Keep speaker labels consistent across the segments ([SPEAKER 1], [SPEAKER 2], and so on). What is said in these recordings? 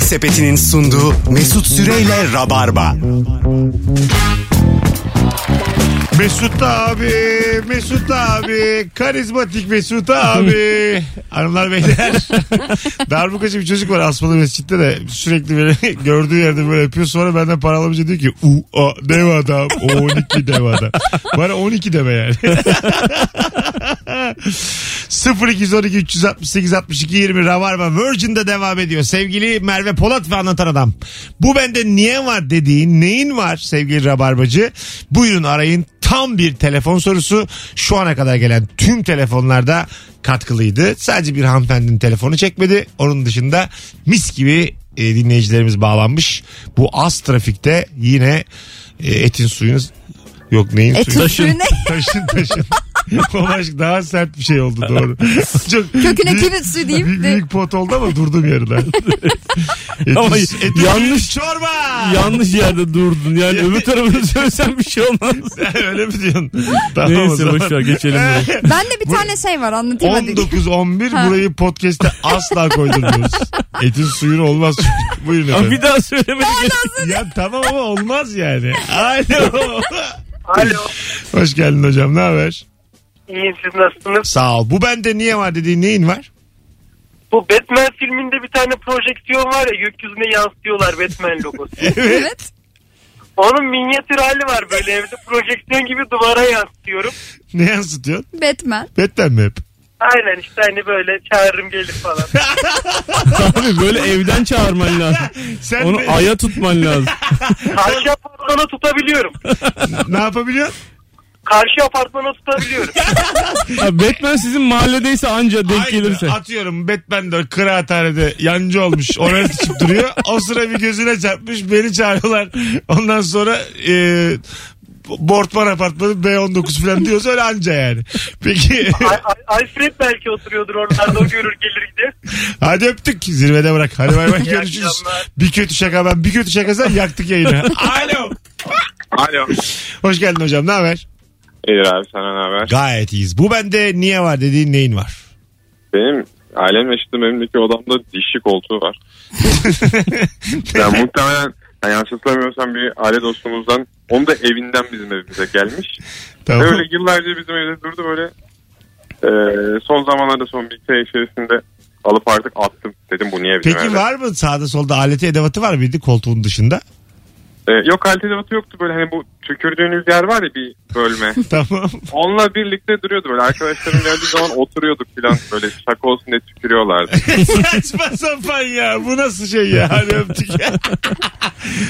[SPEAKER 1] Sepeti'nin sunduğu Mesut Süreyle Rabarba.
[SPEAKER 2] Mesut abi, Mesut abi, karizmatik Mesut abi. Hanımlar beyler. Darbukacı bir çocuk var Asmalı Mescid'de de sürekli beni gördüğü yerde böyle yapıyor. Sonra benden para alamayınca diyor ki u a dev adam, o 12 dev adam. Bana 12 deme yani. 0212 368 62 20 Ravarva Virgin'de devam ediyor. Sevgili Merve Polat ve Anlatan Adam. Bu bende niye var dediğin neyin var sevgili Rabarbacı? Buyurun arayın. Tam bir telefon sorusu. Şu ana kadar gelen tüm telefonlarda katkılıydı. Sadece bir hanımefendinin telefonu çekmedi. Onun dışında mis gibi e, dinleyicilerimiz bağlanmış. Bu az trafikte yine e, etin suyunu Yok neyin
[SPEAKER 3] Etin
[SPEAKER 2] suyu?
[SPEAKER 3] suyu E, ne?
[SPEAKER 2] Taşın taşın. o başka daha sert bir şey oldu doğru. Çok
[SPEAKER 3] Köküne
[SPEAKER 2] büyük-
[SPEAKER 3] kilit suyu deyip
[SPEAKER 2] büyük,
[SPEAKER 3] de-
[SPEAKER 2] büyük pot oldu ama durdum yarıda. Etin-
[SPEAKER 4] Ama
[SPEAKER 2] etin
[SPEAKER 4] yanlış-
[SPEAKER 2] suyu çorba.
[SPEAKER 4] Yanlış yerde durdun. Yani öbür tarafını söylesen bir şey olmaz.
[SPEAKER 2] Öyle mi diyorsun? Tamam o
[SPEAKER 4] Neyse
[SPEAKER 2] zaman.
[SPEAKER 4] boşver geçelim. bunu.
[SPEAKER 3] Ben de bir tane şey var anlatayım hadi.
[SPEAKER 2] 19-11 burayı podcast'te asla koydurmuyoruz. Etin suyun olmaz. çünkü. Buyurun
[SPEAKER 4] Ama
[SPEAKER 2] efendim.
[SPEAKER 4] bir daha söylemedik.
[SPEAKER 2] Ya tamam ama olmaz yani. Alo.
[SPEAKER 5] Alo.
[SPEAKER 2] Hoş geldin hocam ne haber?
[SPEAKER 5] İyiyim siz nasılsınız?
[SPEAKER 2] Sağ ol. Bu bende niye var dediğin neyin var?
[SPEAKER 5] Bu Batman filminde bir tane projeksiyon var ya gökyüzüne yansıtıyorlar Batman logosu.
[SPEAKER 3] Evet.
[SPEAKER 5] Onun minyatür hali var böyle evde projeksiyon gibi duvara yansıtıyorum.
[SPEAKER 2] Ne yansıtıyorsun?
[SPEAKER 3] Batman.
[SPEAKER 2] Betten mi hep?
[SPEAKER 5] Aynen işte hani böyle çağırırım gelir falan.
[SPEAKER 4] Abi böyle evden çağırman lazım.
[SPEAKER 2] Sen
[SPEAKER 4] Onu
[SPEAKER 2] ne,
[SPEAKER 4] aya tutman lazım.
[SPEAKER 5] Karşı apartmana tutabiliyorum.
[SPEAKER 2] ne yapabiliyorsun?
[SPEAKER 5] Karşı apartmana tutabiliyorum.
[SPEAKER 4] Ya Batman sizin mahalledeyse anca denk şey.
[SPEAKER 2] Aynı,
[SPEAKER 4] gelirse.
[SPEAKER 2] Atıyorum Batman de kıraathanede yancı olmuş. Oraya sıçıp duruyor. O sıra bir gözüne çarpmış. Beni çağırıyorlar. Ondan sonra e, Bortman Apartmanı B19 falan diyorsa öyle anca yani. Peki
[SPEAKER 5] Ay- Ay- Alfred belki oturuyordur oralarda o görür gelir gider.
[SPEAKER 2] hadi öptük. Zirvede bırak. Hadi bay bay
[SPEAKER 5] İyi
[SPEAKER 2] görüşürüz.
[SPEAKER 5] akşamlar.
[SPEAKER 2] Bir kötü şaka ben. Bir kötü şaka sen yaktık yayını. Alo.
[SPEAKER 6] Alo.
[SPEAKER 2] Hoş geldin hocam. Ne haber?
[SPEAKER 6] İyidir abi sana ne haber?
[SPEAKER 2] Gayet iyiyiz. Bu bende niye var dediğin neyin var?
[SPEAKER 6] Benim ailem yaşadığım evimdeki odamda dişçi koltuğu var. yani muhtemelen yani yansıtlamıyorsam bir aile dostumuzdan onu da evinden bizim evimize gelmiş.
[SPEAKER 2] Tamam.
[SPEAKER 6] Öyle yıllarca bizim evde durdu böyle. Ee, son zamanlarda son bir şey içerisinde alıp artık attım. Dedim bu niye bizim
[SPEAKER 2] Peki
[SPEAKER 6] evde?
[SPEAKER 2] var mı sağda solda aleti edevatı var mıydı koltuğun dışında?
[SPEAKER 6] Ee, yok alternatı yoktu böyle hani bu tükürdüğünüz yer var ya bir bölme.
[SPEAKER 2] Tamam.
[SPEAKER 6] Onunla birlikte duruyordu böyle arkadaşlarım geldiği zaman oturuyorduk falan böyle şaka olsun diye tükürüyorlardı.
[SPEAKER 2] Saçma sapan ya. Bu nasıl şey ya? Hani öptük ya.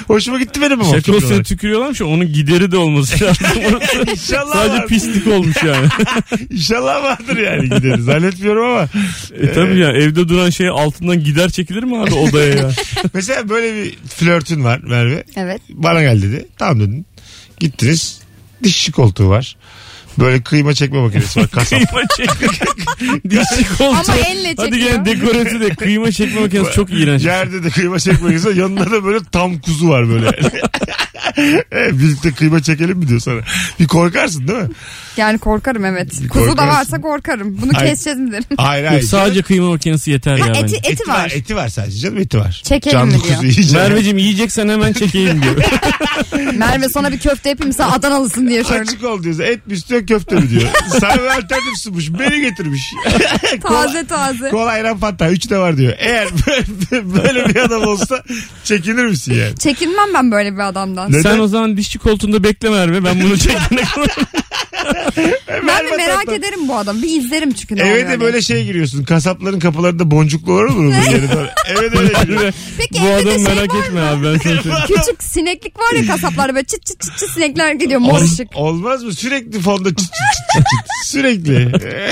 [SPEAKER 2] Hoşuma gitti benim ama.
[SPEAKER 4] Şaka
[SPEAKER 2] fikir
[SPEAKER 4] olsun
[SPEAKER 2] olarak.
[SPEAKER 4] Şey, tükürüyorlarmış ya, onun gideri de olması lazım.
[SPEAKER 2] İnşallah
[SPEAKER 4] Sadece
[SPEAKER 2] vardır.
[SPEAKER 4] pislik olmuş yani.
[SPEAKER 2] İnşallah vardır yani gideriz. Zannetmiyorum ama.
[SPEAKER 4] E tabii ya evde duran şey altından gider çekilir mi abi odaya ya?
[SPEAKER 2] Ee, Mesela böyle bir flörtün var Merve.
[SPEAKER 3] Evet.
[SPEAKER 2] Bana gel dedi. Tamam dedin. Gittiniz. Dişçi koltuğu var. Böyle kıyma çekme makinesi var. Kasap.
[SPEAKER 4] kıyma çekme. Dişlik oldu.
[SPEAKER 3] Ama elle
[SPEAKER 4] Hadi
[SPEAKER 3] çekiyor.
[SPEAKER 4] gene dekoratı de kıyma çekme makinesi çok iğrenç.
[SPEAKER 2] Yerde de kıyma çekme makinesi var. Yanında da böyle tam kuzu var böyle. E, Birlikte kıyma çekelim mi diyor sana. Bir korkarsın değil mi?
[SPEAKER 3] Yani korkarım evet. Kuzu
[SPEAKER 2] Korkarsın.
[SPEAKER 3] da varsa korkarım. Bunu
[SPEAKER 2] Ay.
[SPEAKER 3] keseceğiz mi derim.
[SPEAKER 2] Hayır
[SPEAKER 4] Yok,
[SPEAKER 2] hayır.
[SPEAKER 4] sadece kıyma makinesi yeter ya
[SPEAKER 3] Ha, eti,
[SPEAKER 4] bence.
[SPEAKER 3] eti, var.
[SPEAKER 2] Eti var sadece canım eti var.
[SPEAKER 3] Çekelim
[SPEAKER 2] Canlı
[SPEAKER 3] mi
[SPEAKER 2] kuzu
[SPEAKER 3] diyor?
[SPEAKER 2] yiyeceğim.
[SPEAKER 4] Merveciğim yiyeceksen hemen çekeyim diyor.
[SPEAKER 3] Merve sana bir köfte yapayım sen Adanalısın diye şöyle.
[SPEAKER 2] Açık ol diyor. Et mi istiyor köfte mi diyor. Sana bir alternatif sunmuş. Beni getirmiş.
[SPEAKER 3] taze taze.
[SPEAKER 2] Kolay ayran fanta. Üç de var diyor. Eğer böyle bir adam olsa çekinir misin yani?
[SPEAKER 3] Çekinmem ben böyle bir adamdan.
[SPEAKER 2] Neden?
[SPEAKER 4] Sen o zaman dişçi koltuğunda bekleme Merve. Ben bunu çekene kadar.
[SPEAKER 3] Ben bir
[SPEAKER 2] Merve
[SPEAKER 3] merak
[SPEAKER 2] Tatlı.
[SPEAKER 3] ederim bu adamı. Bir izlerim çünkü ne
[SPEAKER 2] Eve
[SPEAKER 3] oluyor
[SPEAKER 2] de
[SPEAKER 3] diye.
[SPEAKER 2] böyle şey giriyorsun. Kasapların kapılarında boncuklu olur mu? bunun yerine? Eve de öyle giriyor.
[SPEAKER 3] Peki
[SPEAKER 4] Bu
[SPEAKER 3] evde de
[SPEAKER 4] adam
[SPEAKER 3] şey
[SPEAKER 4] merak
[SPEAKER 3] var
[SPEAKER 4] etme
[SPEAKER 3] mı?
[SPEAKER 4] abi ben sana söyleyeyim.
[SPEAKER 3] Küçük sineklik var ya kasaplarda böyle çıt çıt çıt çıt sinekler gidiyor mor
[SPEAKER 2] Ol-
[SPEAKER 3] ışık.
[SPEAKER 2] olmaz mı? Sürekli fonda çıt çıt çıt çıt çıt. Sürekli. Ee,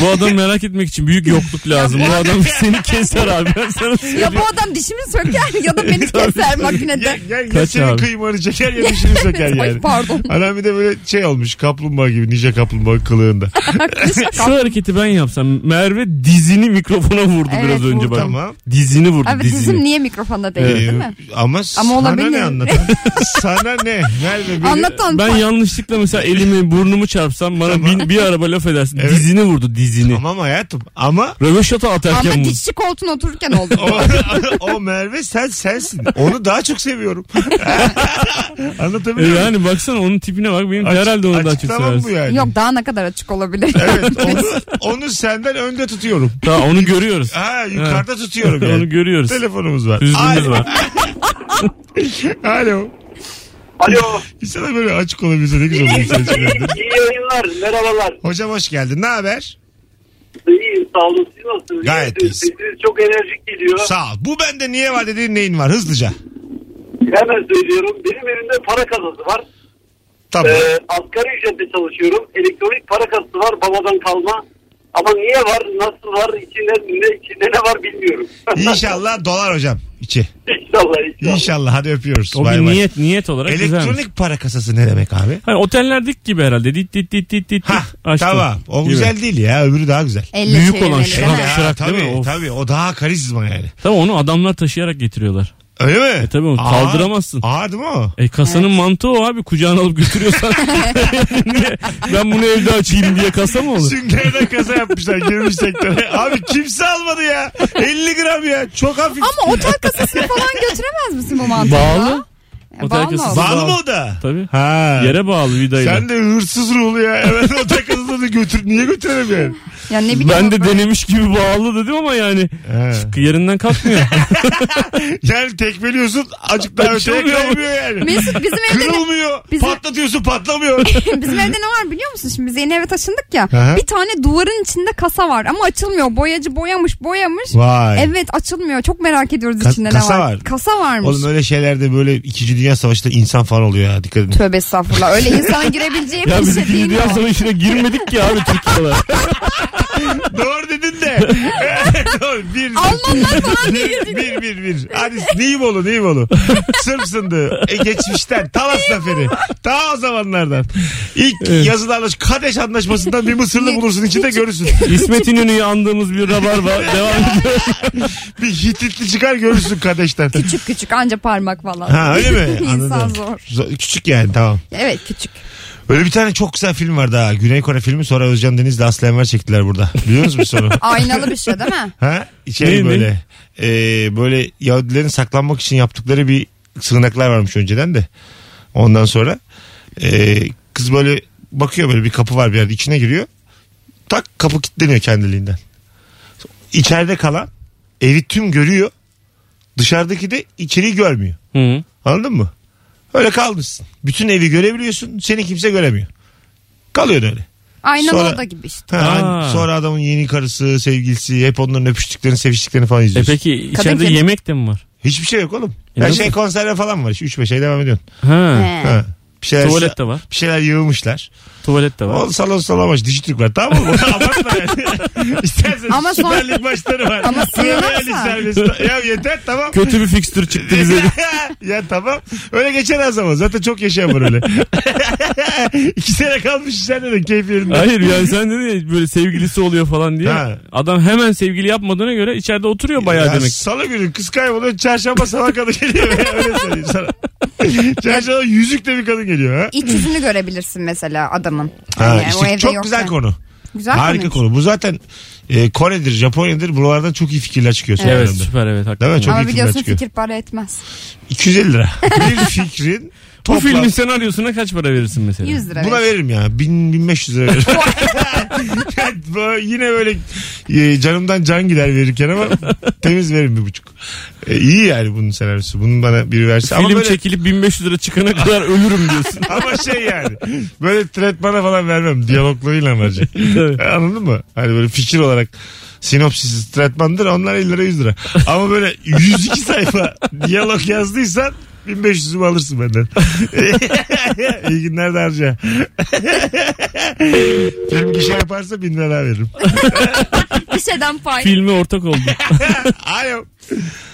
[SPEAKER 4] Bu adam merak etmek için büyük yokluk lazım. Bu adam seni keser abi. Ben sana söyleyeyim.
[SPEAKER 3] Ya bu adam dişimi söker ya da beni keser
[SPEAKER 2] ya,
[SPEAKER 3] makinede.
[SPEAKER 2] ya, ya
[SPEAKER 4] Kaç
[SPEAKER 2] senin
[SPEAKER 4] abi?
[SPEAKER 2] kıymanı çeker ya dişini söker
[SPEAKER 3] Ay
[SPEAKER 2] yani.
[SPEAKER 3] pardon.
[SPEAKER 2] Anam bir de böyle şey olmuş kaplumbağa gibi gibi nice kaplumbağa kılığında.
[SPEAKER 4] Şu hareketi ben yapsam Merve dizini mikrofona vurdu
[SPEAKER 3] Evet,
[SPEAKER 4] biraz önce
[SPEAKER 3] vurdu.
[SPEAKER 4] bak.
[SPEAKER 2] Tamam.
[SPEAKER 4] Dizini vurdu
[SPEAKER 3] Abi
[SPEAKER 4] dizini.
[SPEAKER 3] dizim niye mikrofonda değil değil mi?
[SPEAKER 2] Ee, Ama, sana
[SPEAKER 3] olabilir.
[SPEAKER 2] ne anlatan? sana ne? Merve beni...
[SPEAKER 3] Anlatan
[SPEAKER 4] Ben yanlışlıkla mesela elimi burnumu çarpsam bana
[SPEAKER 2] Tamam.
[SPEAKER 4] bin- bir araba laf edersin.
[SPEAKER 2] Evet.
[SPEAKER 4] Dizini vurdu dizini.
[SPEAKER 2] Tamam hayatım ama
[SPEAKER 4] Röveşata atarken
[SPEAKER 3] ama
[SPEAKER 4] vurdu.
[SPEAKER 3] dişçi koltuğuna otururken oldu.
[SPEAKER 2] o, o Merve sen sensin. Onu daha çok seviyorum.
[SPEAKER 4] E
[SPEAKER 2] Anlatabiliyor muyum?
[SPEAKER 4] yani baksana onun tipine bak benim
[SPEAKER 2] Aç-
[SPEAKER 4] herhalde onu daha çok
[SPEAKER 2] açıklamam bu
[SPEAKER 4] seversin.
[SPEAKER 2] yani.
[SPEAKER 3] Yok daha ne kadar açık olabilir.
[SPEAKER 2] Evet onu, onu senden önde tutuyorum.
[SPEAKER 4] Daha onu görüyoruz.
[SPEAKER 2] Ha yukarıda tutuyorum yani.
[SPEAKER 4] onu görüyoruz.
[SPEAKER 2] Telefonumuz var.
[SPEAKER 4] Hüznümüz
[SPEAKER 2] Alo.
[SPEAKER 4] var.
[SPEAKER 2] Alo.
[SPEAKER 5] Alo.
[SPEAKER 2] İnsana böyle açık olabilse ne güzel olur. insan içinde.
[SPEAKER 5] İyi yayınlar. Merhabalar.
[SPEAKER 2] Hocam hoş geldin. Ne haber?
[SPEAKER 5] İyi sağ olun. Siz nasılsınız?
[SPEAKER 2] Gayet
[SPEAKER 5] İyisiniz.
[SPEAKER 2] iyiyiz.
[SPEAKER 5] Sesiniz çok enerjik geliyor.
[SPEAKER 2] Sağ ol. Bu bende niye var dediğin neyin var? Hızlıca.
[SPEAKER 5] Hemen söylüyorum. Benim elimde para kasası var.
[SPEAKER 2] Tamam.
[SPEAKER 5] Ee, asgari ücretle çalışıyorum. Elektronik para kasası var babadan kalma. Ama niye var, nasıl var, içinde ne, içinde ne var bilmiyorum.
[SPEAKER 2] İnşallah dolar hocam. içi.
[SPEAKER 5] inşallah, inşallah.
[SPEAKER 2] İnşallah. Hadi öpüyoruz.
[SPEAKER 4] O
[SPEAKER 2] Bay
[SPEAKER 4] bir
[SPEAKER 2] bay.
[SPEAKER 4] niyet niyet olarak güzelmiş.
[SPEAKER 2] Elektronik para kasası ne demek abi?
[SPEAKER 4] Hani otellerdeki gibi herhalde. Dit dit dit dit dit.
[SPEAKER 2] Ha
[SPEAKER 4] Açtı.
[SPEAKER 2] tamam. O
[SPEAKER 4] Gibi.
[SPEAKER 2] güzel değil ya. Öbürü daha güzel.
[SPEAKER 3] Elle
[SPEAKER 4] Büyük
[SPEAKER 3] çevirmeli,
[SPEAKER 4] olan şey.
[SPEAKER 3] değil
[SPEAKER 4] şırak.
[SPEAKER 3] mi?
[SPEAKER 2] Ha,
[SPEAKER 4] şırak değil
[SPEAKER 2] tabii,
[SPEAKER 4] mi? Of.
[SPEAKER 2] tabii. O daha karizma yani.
[SPEAKER 4] Tamam onu adamlar taşıyarak getiriyorlar.
[SPEAKER 2] Öyle mi?
[SPEAKER 4] E tabii, onu
[SPEAKER 2] Ağır-
[SPEAKER 4] kaldıramazsın.
[SPEAKER 2] Ağır değil mi o?
[SPEAKER 4] E kasanın mantığı o abi kucağına alıp götürüyorsan. ben bunu evde açayım diye kasa mı olur?
[SPEAKER 2] Süngerden kasa yapmışlar girmiş sektöre. Abi kimse almadı ya. 50 gram ya. Çok hafif.
[SPEAKER 3] Ama otel kasasını falan götüremez misin bu mantıkla?
[SPEAKER 4] Bağlı.
[SPEAKER 3] E,
[SPEAKER 4] Otel
[SPEAKER 3] bağlı
[SPEAKER 4] kasası.
[SPEAKER 3] olur.
[SPEAKER 2] Bağlı mı o da?
[SPEAKER 4] Tabii.
[SPEAKER 2] Ha.
[SPEAKER 4] Yere bağlı vidayla.
[SPEAKER 2] Sen de hırsız ruhlu ya. Evet o takasını da götür. Niye götürelim yani?
[SPEAKER 3] Ya ne bileyim.
[SPEAKER 4] ben de
[SPEAKER 3] böyle-
[SPEAKER 4] denemiş gibi bağlı dedim ama yani
[SPEAKER 2] He.
[SPEAKER 4] yerinden kalkmıyor.
[SPEAKER 2] Yani tekmeliyorsun azıcık daha
[SPEAKER 4] Ben
[SPEAKER 2] öteye
[SPEAKER 4] çalmıyorum.
[SPEAKER 2] kaymıyor yani.
[SPEAKER 3] Mesut bizim evde ne,
[SPEAKER 2] Kırılmıyor.
[SPEAKER 3] Bizim-
[SPEAKER 2] Patlatıyorsun patlamıyor.
[SPEAKER 3] bizim evde ne var biliyor musun? Şimdi biz yeni eve taşındık ya.
[SPEAKER 2] Aha.
[SPEAKER 3] Bir tane duvarın içinde kasa var ama açılmıyor. Boyacı boyamış boyamış.
[SPEAKER 2] Vay.
[SPEAKER 3] Evet açılmıyor. Çok merak ediyoruz
[SPEAKER 2] Ka-
[SPEAKER 3] içinde
[SPEAKER 2] kasa
[SPEAKER 3] ne var.
[SPEAKER 2] var.
[SPEAKER 3] Kasa varmış.
[SPEAKER 2] Oğlum öyle şeylerde böyle 2. Dünya Savaşı'nda insan falan oluyor ya dikkat edin.
[SPEAKER 3] Tövbe estağfurullah. Öyle insanın girebileceği
[SPEAKER 4] ya
[SPEAKER 3] bir
[SPEAKER 4] biz
[SPEAKER 3] şey
[SPEAKER 4] ikinci
[SPEAKER 3] değil.
[SPEAKER 4] dünya
[SPEAKER 3] o.
[SPEAKER 4] savaşına girmedik ki abi Türkiye'de.
[SPEAKER 2] Doğru dedin de. Doğru. bir,
[SPEAKER 3] Almanlar falan
[SPEAKER 2] bir, bir, bir, bir. Hadi Neymoğlu, Neymoğlu. Sırp sındı. E, geçmişten. Talas zaferi. Ta o zamanlardan. İlk yazılarla Kadeş Anlaşması'ndan bir Mısırlı bulursun. içinde görürsün.
[SPEAKER 4] İsmet İnönü'yü andığımız bir rabarba devam ediyor.
[SPEAKER 2] Bir Hititli çıkar görürsün Kadeş'ten.
[SPEAKER 3] küçük küçük anca parmak falan.
[SPEAKER 2] Ha öyle mi?
[SPEAKER 3] İnsan
[SPEAKER 2] Anladım.
[SPEAKER 3] zor.
[SPEAKER 2] Zo- Küçük yani tamam.
[SPEAKER 3] Evet küçük.
[SPEAKER 2] Öyle bir tane çok güzel film vardı ha. Güney Kore filmi sonra Özcan Deniz'le Aslı Enver çektiler burada. Biliyor musunuz sonu?
[SPEAKER 3] Aynalı bir şey değil mi?
[SPEAKER 2] Ha? Şey
[SPEAKER 4] Ne, ne?
[SPEAKER 2] böyle. e, böyle Yahudilerin saklanmak için yaptıkları bir sığınaklar varmış önceden de. Ondan sonra e, kız böyle bakıyor böyle bir kapı var bir yerde içine giriyor. Tak kapı kilitleniyor kendiliğinden. İçeride kalan evi tüm görüyor. Dışarıdaki de içeriği görmüyor.
[SPEAKER 4] Hı.
[SPEAKER 2] Anladın mı? Öyle kalmışsın. Bütün evi görebiliyorsun. Seni kimse göremiyor. Kalıyorsun öyle.
[SPEAKER 3] Aynalı
[SPEAKER 2] Sonra-
[SPEAKER 3] oda gibi işte.
[SPEAKER 2] Ha, hani
[SPEAKER 4] Aa.
[SPEAKER 2] sonra adamın yeni karısı, sevgilisi hep onların öpüştüklerini, seviştiklerini falan
[SPEAKER 4] E
[SPEAKER 2] izliyorsun.
[SPEAKER 4] peki içeride
[SPEAKER 3] kendi-
[SPEAKER 4] yemek de mi var?
[SPEAKER 2] Hiçbir şey yok oğlum.
[SPEAKER 4] E,
[SPEAKER 2] Her
[SPEAKER 4] nasıl?
[SPEAKER 2] şey konserve falan var. 3-5 şey devam ediyorsun.
[SPEAKER 4] Ha.
[SPEAKER 3] He.
[SPEAKER 2] Ha. Bir şeyler,
[SPEAKER 4] Tuvalet de var.
[SPEAKER 2] Bir şeyler yığılmışlar.
[SPEAKER 4] Tuvalet de var.
[SPEAKER 2] O salon salon maç. Dijitürk var. Tamam mı? Abartma yani. İstersen
[SPEAKER 3] Ama
[SPEAKER 2] Süper
[SPEAKER 3] sonra-
[SPEAKER 2] Lig maçları var.
[SPEAKER 3] Ama
[SPEAKER 2] Premier
[SPEAKER 3] sığınaksa.
[SPEAKER 2] Lig serbest. Ya yeter tamam.
[SPEAKER 4] Kötü bir fikstür çıktı bize.
[SPEAKER 2] ya tamam. Öyle geçer her zaman. Zaten çok yaşayan var öyle. İki sene kalmış sen de keyif yerinde.
[SPEAKER 4] Hayır yani sen dedin ya böyle sevgilisi oluyor falan diye.
[SPEAKER 2] Ha.
[SPEAKER 4] Adam hemen sevgili yapmadığına göre içeride oturuyor bayağı
[SPEAKER 2] Ya
[SPEAKER 4] demek.
[SPEAKER 2] Salı günü kız kayboluyor. Çarşamba sabah kadın geliyor. Öyle söyleyeyim sana. Çarşamba yüzükle bir kadın geliyor. Ha?
[SPEAKER 3] İç yüzünü görebilirsin mesela adamın.
[SPEAKER 2] Ha,
[SPEAKER 3] Yani o
[SPEAKER 2] işte
[SPEAKER 3] evde
[SPEAKER 2] çok
[SPEAKER 3] yokken.
[SPEAKER 2] güzel konu.
[SPEAKER 3] Güzel
[SPEAKER 2] Harika
[SPEAKER 3] konuymuş.
[SPEAKER 2] konu. Bu zaten e, Kore'dir, Japonya'dır. Buralardan çok iyi fikirler çıkıyor. son
[SPEAKER 4] Evet
[SPEAKER 2] dönemde.
[SPEAKER 4] süper evet hakikaten.
[SPEAKER 2] Değil mi? Çok iyi
[SPEAKER 3] Ama
[SPEAKER 2] filmler
[SPEAKER 3] biliyorsun
[SPEAKER 2] çıkıyor.
[SPEAKER 3] fikir para etmez.
[SPEAKER 2] 250 lira. bir fikrin
[SPEAKER 4] Bu
[SPEAKER 2] toplam.
[SPEAKER 4] filmin senaryosuna kaç para verirsin mesela?
[SPEAKER 3] 100 lira.
[SPEAKER 2] Buna
[SPEAKER 3] ver.
[SPEAKER 2] veririm ya. 1000 1500 lira veririm. Yani böyle yine böyle e, canımdan can gider verirken ama temiz veririm bir buçuk. E, iyi yani bunun senaryosu. Bunu bana biri verse. ama
[SPEAKER 4] Film
[SPEAKER 2] böyle,
[SPEAKER 4] çekilip 1500 lira çıkana kadar ölürüm diyorsun.
[SPEAKER 2] ama şey yani. Böyle tretmana falan vermem. Diyaloglarıyla verecek.
[SPEAKER 4] Tabii.
[SPEAKER 2] Anladın mı? Hani böyle fikir olarak sinopsis tretmandır. Onlar 50 lira 100 lira. Ama böyle 102 sayfa diyalog yazdıysan 1500'ümü alırsın benden. İyi günler de harca. Film gişe yaparsa 1000 lira veririm.
[SPEAKER 3] Bir şeyden pay.
[SPEAKER 4] Filme ortak oldum.
[SPEAKER 2] Alo.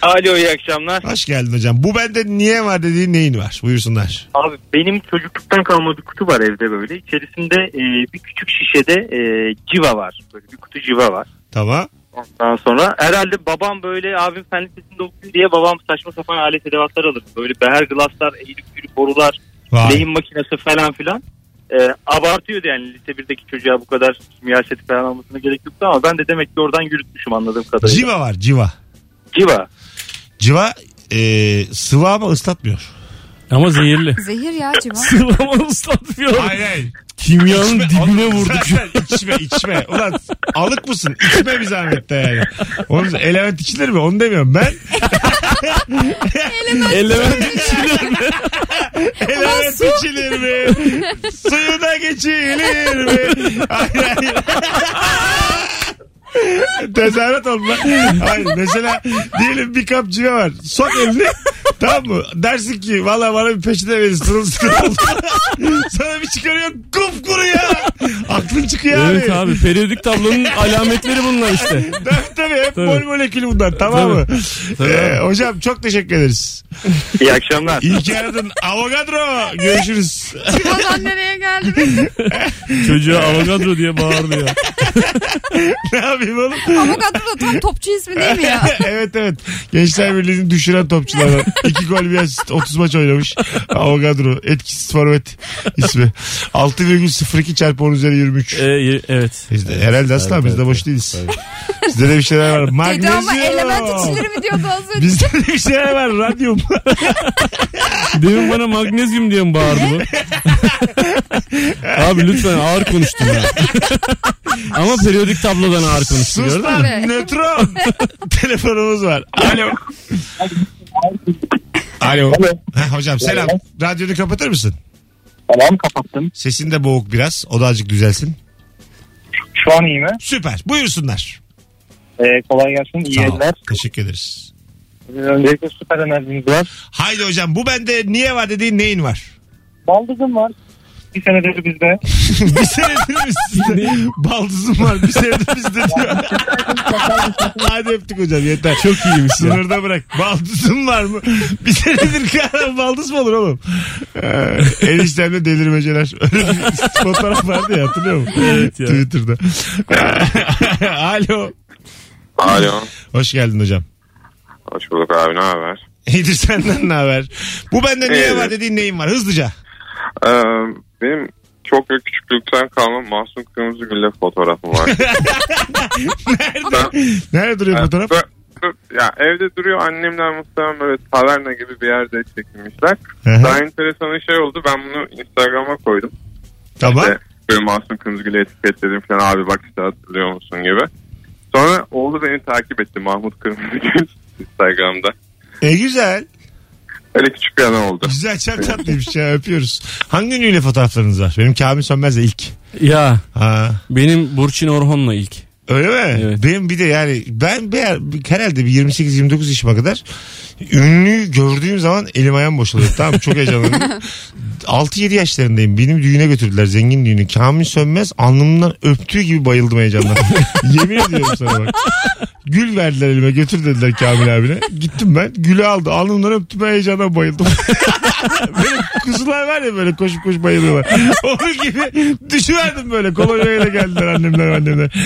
[SPEAKER 7] Alo iyi akşamlar.
[SPEAKER 2] Hoş geldin hocam. Bu bende niye var dediğin neyin var? Buyursunlar.
[SPEAKER 7] Abi benim çocukluktan kalma bir kutu var evde böyle. İçerisinde e, bir küçük şişede e, civa var. Böyle bir kutu civa var.
[SPEAKER 2] Tamam.
[SPEAKER 7] Ondan sonra herhalde babam böyle abim fen lisesinde okusun diye babam saçma sapan alet edevatlar alır. Böyle beher glasslar, eğilip yürüp borular,
[SPEAKER 2] Vay.
[SPEAKER 7] lehim makinesi falan filan. E, abartıyordu yani lise 1'deki çocuğa bu kadar kimya seti falan almasına gerek yoktu ama ben de demek ki oradan yürütmüşüm anladığım kadarıyla.
[SPEAKER 2] Civa var civa.
[SPEAKER 7] Civa.
[SPEAKER 2] Civa e, sıvı ama ıslatmıyor.
[SPEAKER 4] Ama zehirli.
[SPEAKER 3] Zehir ya civan.
[SPEAKER 4] Sıvama ıslatmıyor.
[SPEAKER 2] Hayır hayır.
[SPEAKER 4] Kimyanın dibine vurduk.
[SPEAKER 2] Zaten içme içme. Ulan alık mısın? İçme bir zahmet de yani. Onun element içilir mi? Onu demiyorum ben.
[SPEAKER 4] Element içilir mi?
[SPEAKER 2] Element
[SPEAKER 3] su.
[SPEAKER 2] içilir mi? Suyu da geçilir mi? Hayır hayır. Tezahürat oldu lan. Hayır mesela diyelim bir kap civa var. Sok elini. Tamam mı? Dersin ki valla bana bir peşine verin sırılsıkı oldu. Sana bir çıkarıyor kupkuru ya. Aklın çıkıyor
[SPEAKER 4] Evet abi periyodik tablonun alametleri bunlar işte.
[SPEAKER 2] Tabii tabii hep
[SPEAKER 4] Tabii.
[SPEAKER 2] mol molekülü bunlar tamam mı?
[SPEAKER 4] Tabii.
[SPEAKER 2] Ee, hocam çok teşekkür ederiz.
[SPEAKER 7] İyi akşamlar.
[SPEAKER 2] İyi ki aradın. Avogadro görüşürüz.
[SPEAKER 3] Civadan nereye geldi?
[SPEAKER 4] Çocuğa avogadro diye bağırıyor.
[SPEAKER 2] ne yapayım oğlum?
[SPEAKER 3] Avogadro da tam topçu ismi değil mi ya?
[SPEAKER 2] evet evet. Gençler Birliği'nin düşüren topçulardan. İki gol bir asist 30 maç oynamış. Avogadro. Etkisiz forvet ismi. 6,02 çarpı 10 üzeri 23.
[SPEAKER 4] Ee, y- evet.
[SPEAKER 2] Biz de, herhalde asla biz de boş değiliz. Sizde de bir şeyler var.
[SPEAKER 3] Dedi
[SPEAKER 2] Magnezyum.
[SPEAKER 3] ama element içilir mi diyordu az önce.
[SPEAKER 2] Bizde de bir şeyler var. Radyum.
[SPEAKER 4] Demin bana magnezyum diye mi bağırdı bu? abi lütfen ağır konuştun ya. Ama periyodik tablodan ağır konuştun
[SPEAKER 2] Sus
[SPEAKER 4] gördün mü?
[SPEAKER 2] lan.
[SPEAKER 3] mü?
[SPEAKER 2] Nötron. Telefonumuz var. Alo. Alo. Heh, hocam selam. Radyonu kapatır mısın?
[SPEAKER 7] Tamam kapattım.
[SPEAKER 2] Sesin de boğuk biraz. O da azıcık düzelsin.
[SPEAKER 7] Şu an iyi mi? E,
[SPEAKER 2] Süper. Buyursunlar.
[SPEAKER 7] kolay gelsin. İyi
[SPEAKER 2] Sağ ol. Teşekkür ederiz.
[SPEAKER 7] Öncelikle süper enerjiniz var.
[SPEAKER 2] Haydi hocam bu bende niye var dediğin neyin var?
[SPEAKER 7] Baldızım var. Bir senedir bizde.
[SPEAKER 2] bir senedir biz sizde. Baldızım var bir senedir bizde diyor. Hadi öptük hocam yeter.
[SPEAKER 4] Çok iyiymiş ya.
[SPEAKER 2] Sınırda bırak. Baldızım var mı? Bir senedir kahraman baldız mı olur oğlum? Ee, eniştemle delirmeceler. Öyle bir fotoğraf vardı ya hatırlıyor musun?
[SPEAKER 4] Evet ya.
[SPEAKER 2] Twitter'da. Alo.
[SPEAKER 6] Alo.
[SPEAKER 2] Hoş geldin hocam.
[SPEAKER 6] Hoş bulduk abi ne haber?
[SPEAKER 2] İyidir senden ne haber? Bu bende niye
[SPEAKER 6] Evet.
[SPEAKER 2] var dediğin neyin var? Hızlıca.
[SPEAKER 6] Ee, benim çok ve küçüklükten kalma Masum Kırmızı Gül'le fotoğrafım var. Ben-
[SPEAKER 2] Nerede duruyor
[SPEAKER 6] ben-
[SPEAKER 2] fotoğraf?
[SPEAKER 6] ben- ya evde duruyor annemler muhtemelen böyle taverna gibi bir yerde çekilmişler.
[SPEAKER 2] Hı hı.
[SPEAKER 6] Daha enteresan şey oldu ben bunu Instagram'a koydum.
[SPEAKER 2] Tamam.
[SPEAKER 6] İşte böyle Masum Kırmızıgül'ü etiketledim falan abi bak işte hatırlıyor musun gibi. Sonra oğlu beni takip etti Mahmut Kırmızıgül Instagram'da.
[SPEAKER 2] E güzel.
[SPEAKER 6] Öyle küçük bir adam oldu.
[SPEAKER 2] Güzel çok tatlıymış ya öpüyoruz. Hangi ünlüyle fotoğraflarınız var? Benim Kamil Sönmez'le ilk.
[SPEAKER 4] Ya
[SPEAKER 2] Ha.
[SPEAKER 4] benim Burçin Orhon'la ilk.
[SPEAKER 2] Öyle mi?
[SPEAKER 4] Evet.
[SPEAKER 2] Benim bir de yani ben bir, herhalde bir 28-29 yaşıma kadar ünlü gördüğüm zaman elim ayağım boşalıyor. Tamam mı? çok heyecanlandım. 6-7 yaşlarındayım. Benim düğüne götürdüler. Zengin düğünü. Kamil Sönmez alnımdan öptüğü gibi bayıldım heyecandan. Yemin ediyorum sana bak. Gül verdiler elime götür dediler Kamil abine. Gittim ben. Gülü aldı. Alnımdan öptü ben heyecandan bayıldım. böyle kuzular var ya böyle koşup koşup bayılıyorlar. Onun gibi düşüverdim böyle. Kolonyayla geldiler annemler annemler.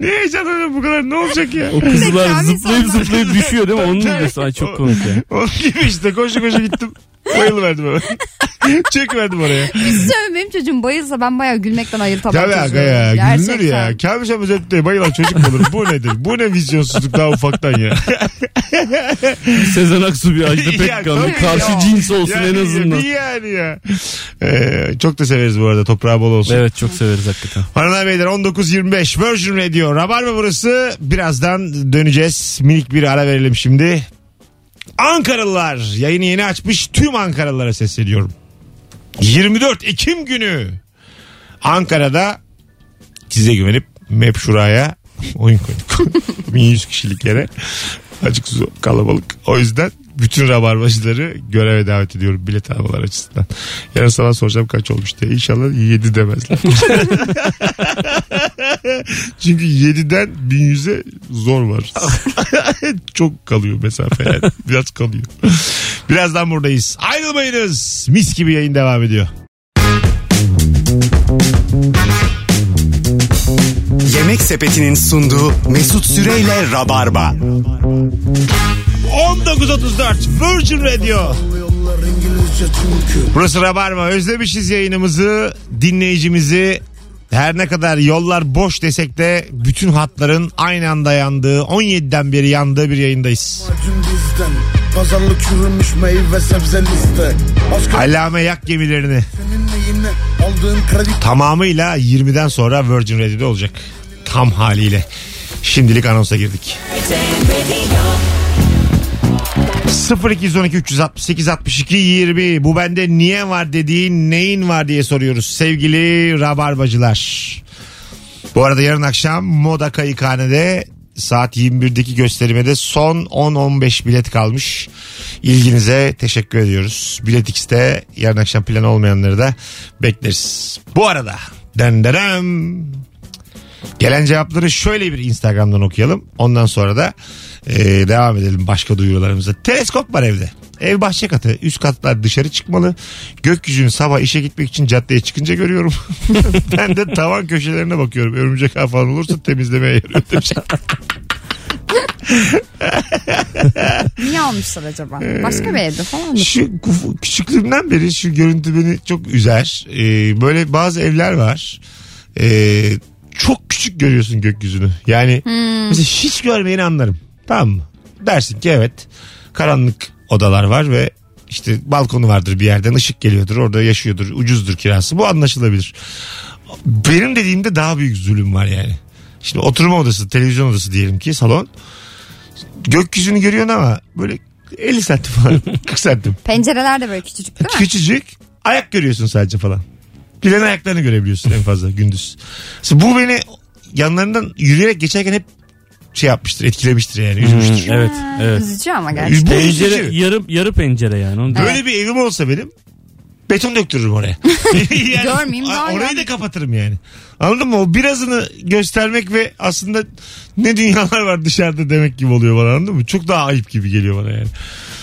[SPEAKER 2] ne heyecanlanıyorum bu kadar ne olacak ya?
[SPEAKER 4] O kızlar
[SPEAKER 3] Zekalı
[SPEAKER 4] zıplayıp
[SPEAKER 3] insanlar.
[SPEAKER 4] zıplayıp düşüyor değil mi? Onun videosu. Ay çok komik ya.
[SPEAKER 2] Onun gibi işte koşu koşu gittim. Bayılıverdim hemen. Çekiverdim oraya.
[SPEAKER 3] Söyle benim çocuğum bayılsa ben bayağı gülmekten ayırtamam
[SPEAKER 2] Tabii aga
[SPEAKER 3] çocuğu.
[SPEAKER 2] ya gülünür
[SPEAKER 3] Gerçekten.
[SPEAKER 2] ya. Kamil Şamız öptü bayılan çocuk mu olur? Bu nedir? Bu ne vizyonsuzluk daha ufaktan ya.
[SPEAKER 4] Sezen Aksu bir Ajda
[SPEAKER 2] Ya,
[SPEAKER 4] Pekkan'ın
[SPEAKER 2] tabii ya.
[SPEAKER 4] karşı cins olsun
[SPEAKER 2] yani,
[SPEAKER 4] en azından.
[SPEAKER 2] Bir yani ya. Ee, çok da severiz bu arada toprağı bol olsun.
[SPEAKER 4] Evet çok severiz hakikaten.
[SPEAKER 2] Hanımlar beyler 19.25 Virgin Radio. Rabarba burası. Birazdan döneceğiz. Minik bir ara verelim şimdi. Ankaralılar yayını yeni açmış tüm Ankaralılara sesleniyorum. 24 Ekim günü Ankara'da size güvenip Map Şura'ya oyun koyduk. 1100 kişilik yere. Acık su- kalabalık. O yüzden bütün rabarbacıları göreve davet ediyorum bilet almalar açısından. Yarın sabah soracağım kaç olmuş diye. İnşallah 7 demezler. Çünkü 7'den 1100'e zor var. Çok kalıyor mesafe yani. Biraz kalıyor. Birazdan buradayız. Ayrılmayınız. Mis gibi yayın devam ediyor.
[SPEAKER 1] Yemek Sepeti'nin sunduğu Mesut Süreyle Rabarba.
[SPEAKER 2] 19.34 Virgin Radio. Burası Rabarba. Özlemişiz yayınımızı, dinleyicimizi. Her ne kadar yollar boş desek de bütün hatların aynı anda yandığı, 17'den beri yandığı bir yayındayız.
[SPEAKER 8] Acın bizden Pazarlık çürümüş meyve sebze liste Aşkın
[SPEAKER 2] Allame yak gemilerini
[SPEAKER 8] seninle yine aldığın kredi
[SPEAKER 2] tamamıyla 20'den sonra Virgin Radio'da olacak. Tam haliyle. Şimdilik anonsa girdik. 0212 368 62 20 bu bende niye var dediğin neyin var diye soruyoruz sevgili rabarbacılar. Bu arada yarın akşam Moda Kayıkhane'de saat 21'deki gösterimede son 10-15 bilet kalmış. İlginize teşekkür ediyoruz. Bilet X'te yarın akşam plan olmayanları da bekleriz. Bu arada denderem. Gelen cevapları şöyle bir Instagram'dan okuyalım. Ondan sonra da e, devam edelim başka duyurularımıza. Teleskop var evde. Ev bahçe katı. Üst katlar dışarı çıkmalı. Gökyüzünü sabah işe gitmek için caddeye çıkınca görüyorum. ben de tavan köşelerine bakıyorum. Örümcek ağ falan olursa temizlemeye yarıyor demiş.
[SPEAKER 3] Niye almışlar acaba?
[SPEAKER 4] Ee,
[SPEAKER 3] Başka bir evde falan mı?
[SPEAKER 2] Şu kuf- küçüklüğümden beri şu görüntü beni çok üzer. Ee, böyle bazı evler var. Ee, çok küçük görüyorsun gökyüzünü. Yani mesela hiç görmeyeni anlarım. Tamam mı? Dersin ki evet karanlık odalar var ve işte balkonu vardır bir yerden ışık geliyordur orada yaşıyordur ucuzdur kirası bu anlaşılabilir. Benim dediğimde daha büyük zulüm var yani. Şimdi oturma odası televizyon odası diyelim ki salon gökyüzünü görüyorsun ama böyle 50 santim falan 40 santim
[SPEAKER 3] Pencereler de böyle küçücük değil mi?
[SPEAKER 2] küçücük ayak görüyorsun sadece falan. Bilen ayaklarını görebiliyorsun en fazla gündüz. Mesela bu beni yanlarından yürüyerek geçerken hep şey yapmıştır, etkilemiştir yani, üzmüştür.
[SPEAKER 4] Hmm, evet evet. Ee,
[SPEAKER 3] Üzücü ama gerçekten.
[SPEAKER 2] Bu
[SPEAKER 4] Pencere
[SPEAKER 2] üzücü.
[SPEAKER 4] yarı yarı pencere yani. Onu
[SPEAKER 2] Böyle bir evim olsa benim beton döktürürüm oraya. yani,
[SPEAKER 3] Görmeyeyim daha
[SPEAKER 2] Orayı
[SPEAKER 3] yani.
[SPEAKER 2] da kapatırım yani. Anladın mı? O birazını göstermek ve aslında ne dünyalar var dışarıda demek gibi oluyor bana anladın mı? Çok daha ayıp gibi geliyor bana yani.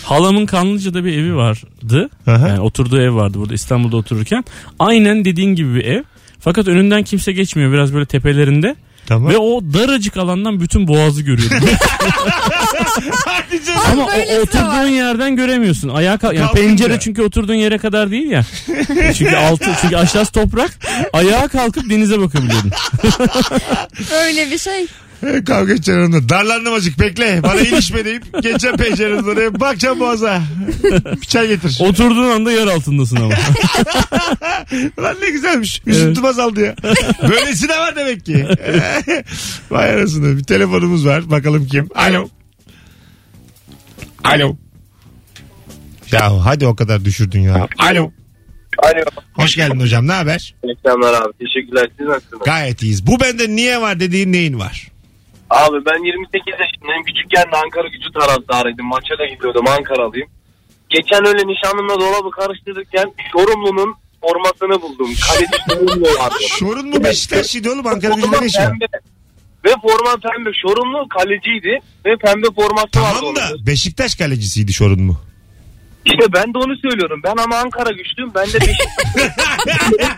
[SPEAKER 4] Halamın Kanlıca'da bir evi vardı.
[SPEAKER 2] Aha.
[SPEAKER 4] Yani oturduğu ev vardı burada İstanbul'da otururken. Aynen dediğin gibi bir ev. Fakat önünden kimse geçmiyor biraz böyle tepelerinde.
[SPEAKER 2] Tamam.
[SPEAKER 4] Ve o daracık alandan bütün boğazı görüyordum.
[SPEAKER 2] Hadi canım.
[SPEAKER 4] Ama
[SPEAKER 3] Böylesi
[SPEAKER 4] o
[SPEAKER 3] de
[SPEAKER 4] oturduğun
[SPEAKER 3] şey var.
[SPEAKER 4] yerden göremiyorsun. Ayağa kalk. Yani
[SPEAKER 2] Kalkınca.
[SPEAKER 4] pencere çünkü oturduğun yere kadar değil ya. çünkü altı çünkü aşağısı toprak. Ayağa kalkıp denize bakabiliyordun.
[SPEAKER 3] Böyle bir şey.
[SPEAKER 2] Kavga edeceksin onunla. Darlandım azıcık bekle. Bana ilişme deyip geçeceğim pencerenin oraya. Bakacağım boğaza. Bir çay getir.
[SPEAKER 4] Oturduğun anda yer altındasın ama.
[SPEAKER 2] Lan ne güzelmiş. Üzüntüm azaldı ya. Böylesi de var demek ki. Vay arasında. Bir telefonumuz var. Bakalım kim. Alo. Alo. Ya hadi o kadar düşürdün ya. Alo.
[SPEAKER 5] Alo.
[SPEAKER 2] Hoş geldin hocam. Ne haber?
[SPEAKER 5] Selamlar abi. Teşekkürler. Siz nasılsınız?
[SPEAKER 2] Gayet iyiyiz. Bu bende niye var dediğin neyin var?
[SPEAKER 5] Abi ben 28 yaşındayım. Küçükken de Ankara gücü taraftarıydım. Maça da gidiyordum Ankaralıyım. Geçen öyle nişanlımla dolabı karıştırırken Çorumlu'nun formasını buldum. Kaleci Çorumlu vardı.
[SPEAKER 2] Şorun mu Beşiktaş'ıydı oğlum? Ankara gücünde ne işi var?
[SPEAKER 5] pembe. Ve forma pembe. Çorumlu kaleciydi. Ve pembe forması vardı
[SPEAKER 2] Tamam
[SPEAKER 5] onun.
[SPEAKER 2] da Beşiktaş kalecisiydi Şorun mu?
[SPEAKER 5] İşte ben de onu söylüyorum. Ben ama Ankara güçlüyüm. Ben de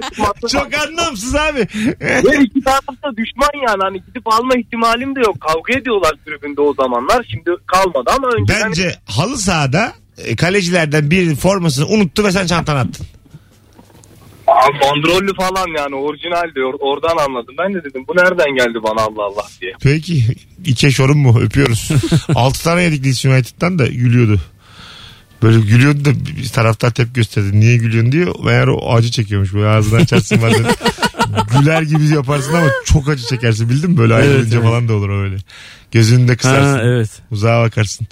[SPEAKER 5] Beşiktaş'ın
[SPEAKER 2] Çok anlamsız abi.
[SPEAKER 5] Ve iki tarafta düşman yani. Hani gidip alma ihtimalim de yok. Kavga ediyorlar tribünde o zamanlar. Şimdi kalmadı ama önce
[SPEAKER 2] Bence halı sahada e, kalecilerden birinin formasını unuttu ve sen çantana attın.
[SPEAKER 5] Abi Bandrollü falan yani orijinal diyor. Oradan anladım. Ben de dedim bu nereden geldi bana Allah Allah diye.
[SPEAKER 2] Peki. İçe şorun mu? Öpüyoruz. 6 tane yedik Leeds United'dan da gülüyordu. Böyle gülüyordu da bir taraftar tepki gösterdi. Niye gülüyorsun diyor. Meğer o acı çekiyormuş. Böyle ağzından açarsın bazen. Güler gibi yaparsın ama çok acı çekersin bildin mi? Böyle ayrılınca
[SPEAKER 4] evet.
[SPEAKER 2] falan da olur o öyle. Gözünü de kısarsın.
[SPEAKER 4] ha evet.
[SPEAKER 2] Uzağa bakarsın.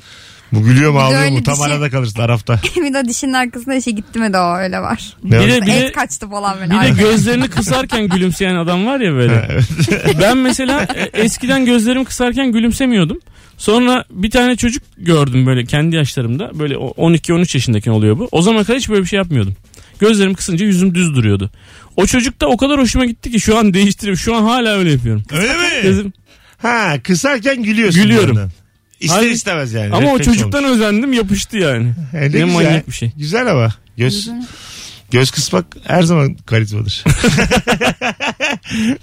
[SPEAKER 2] Bu gülüyor mu
[SPEAKER 3] Bir de
[SPEAKER 2] ağlıyor
[SPEAKER 3] öyle
[SPEAKER 2] mu?
[SPEAKER 3] bir
[SPEAKER 2] Tam
[SPEAKER 3] şey-
[SPEAKER 2] arada kalırsın Araf'ta.
[SPEAKER 3] bir de dişinin arkasında şey gitti mi de o öyle var.
[SPEAKER 2] Ne
[SPEAKER 4] Bir
[SPEAKER 2] var?
[SPEAKER 4] de, bir de,
[SPEAKER 3] Et kaçtı falan böyle.
[SPEAKER 4] bir de
[SPEAKER 3] Ay,
[SPEAKER 4] gözlerini kısarken gülümseyen adam var ya böyle. ben mesela e, eskiden gözlerimi kısarken gülümsemiyordum. Sonra bir tane çocuk gördüm böyle kendi yaşlarımda. Böyle o- 12-13 yaşındayken oluyor bu. O zamana kadar hiç böyle bir şey yapmıyordum. Gözlerim kısınca yüzüm düz duruyordu. O çocuk da o kadar hoşuma gitti ki şu an değiştiriyorum. Şu an hala öyle yapıyorum.
[SPEAKER 2] Öyle mi?
[SPEAKER 4] Gözüm-
[SPEAKER 2] Ha kısarken gülüyorsun.
[SPEAKER 4] Gülüyorum.
[SPEAKER 2] bundan. İster
[SPEAKER 4] Hayır.
[SPEAKER 2] istemez yani.
[SPEAKER 4] Ama o
[SPEAKER 2] Refleks
[SPEAKER 4] çocuktan özendim yapıştı yani.
[SPEAKER 2] olmuş. E, ne
[SPEAKER 4] Ne
[SPEAKER 2] güzel.
[SPEAKER 4] manyak bir şey.
[SPEAKER 2] Güzel ama. Göz, göz kısmak her zaman karizmadır.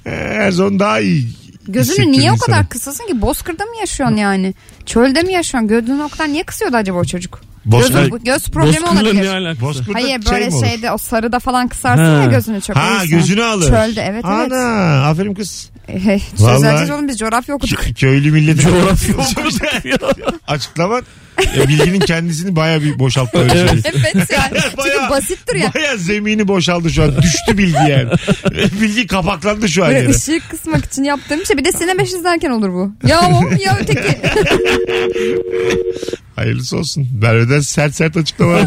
[SPEAKER 2] her zaman daha iyi.
[SPEAKER 3] Gözünü
[SPEAKER 2] hissettirir
[SPEAKER 3] niye o
[SPEAKER 2] insanı.
[SPEAKER 3] kadar kısasın ki? Bozkır'da mı yaşıyorsun yani? Çölde mi yaşıyorsun? Gözünü o kadar niye kısıyordu acaba o çocuk?
[SPEAKER 2] Bozkır,
[SPEAKER 3] Gözün, göz problemi
[SPEAKER 4] Bozkır'la
[SPEAKER 3] olabilir.
[SPEAKER 4] ne alakası?
[SPEAKER 2] Bozkır'da
[SPEAKER 3] Hayır
[SPEAKER 2] şey
[SPEAKER 3] böyle
[SPEAKER 2] mi olur?
[SPEAKER 3] şeyde o sarıda falan kısarsın
[SPEAKER 4] Ha.
[SPEAKER 3] ya gözünü çok.
[SPEAKER 2] Ha
[SPEAKER 3] Neyse.
[SPEAKER 2] gözünü alır.
[SPEAKER 3] Çölde evet evet.
[SPEAKER 2] Ana aferin kız.
[SPEAKER 3] Eh, Söz
[SPEAKER 2] Vallahi-
[SPEAKER 3] vereceğiz oğlum biz coğrafya okuduk.
[SPEAKER 2] Kö- köylü milleti.
[SPEAKER 4] Coğrafya
[SPEAKER 2] Açıklaman e, bilginin kendisini baya bir boşalttı. Öyle
[SPEAKER 4] Evet.
[SPEAKER 2] söyleyeyim.
[SPEAKER 3] evet yani.
[SPEAKER 2] Bayağı-
[SPEAKER 3] Çünkü basittir ya.
[SPEAKER 2] Baya zemini boşaldı şu an. Düştü bilgi yani. bilgi kapaklandı şu an
[SPEAKER 3] Böyle
[SPEAKER 2] yere.
[SPEAKER 3] ışığı kısmak için yaptığım şey. Bir de Sine 5 izlerken olur bu. Ya o ya öteki.
[SPEAKER 2] Hayırlısı olsun. Merve'den sert sert açıklamalar.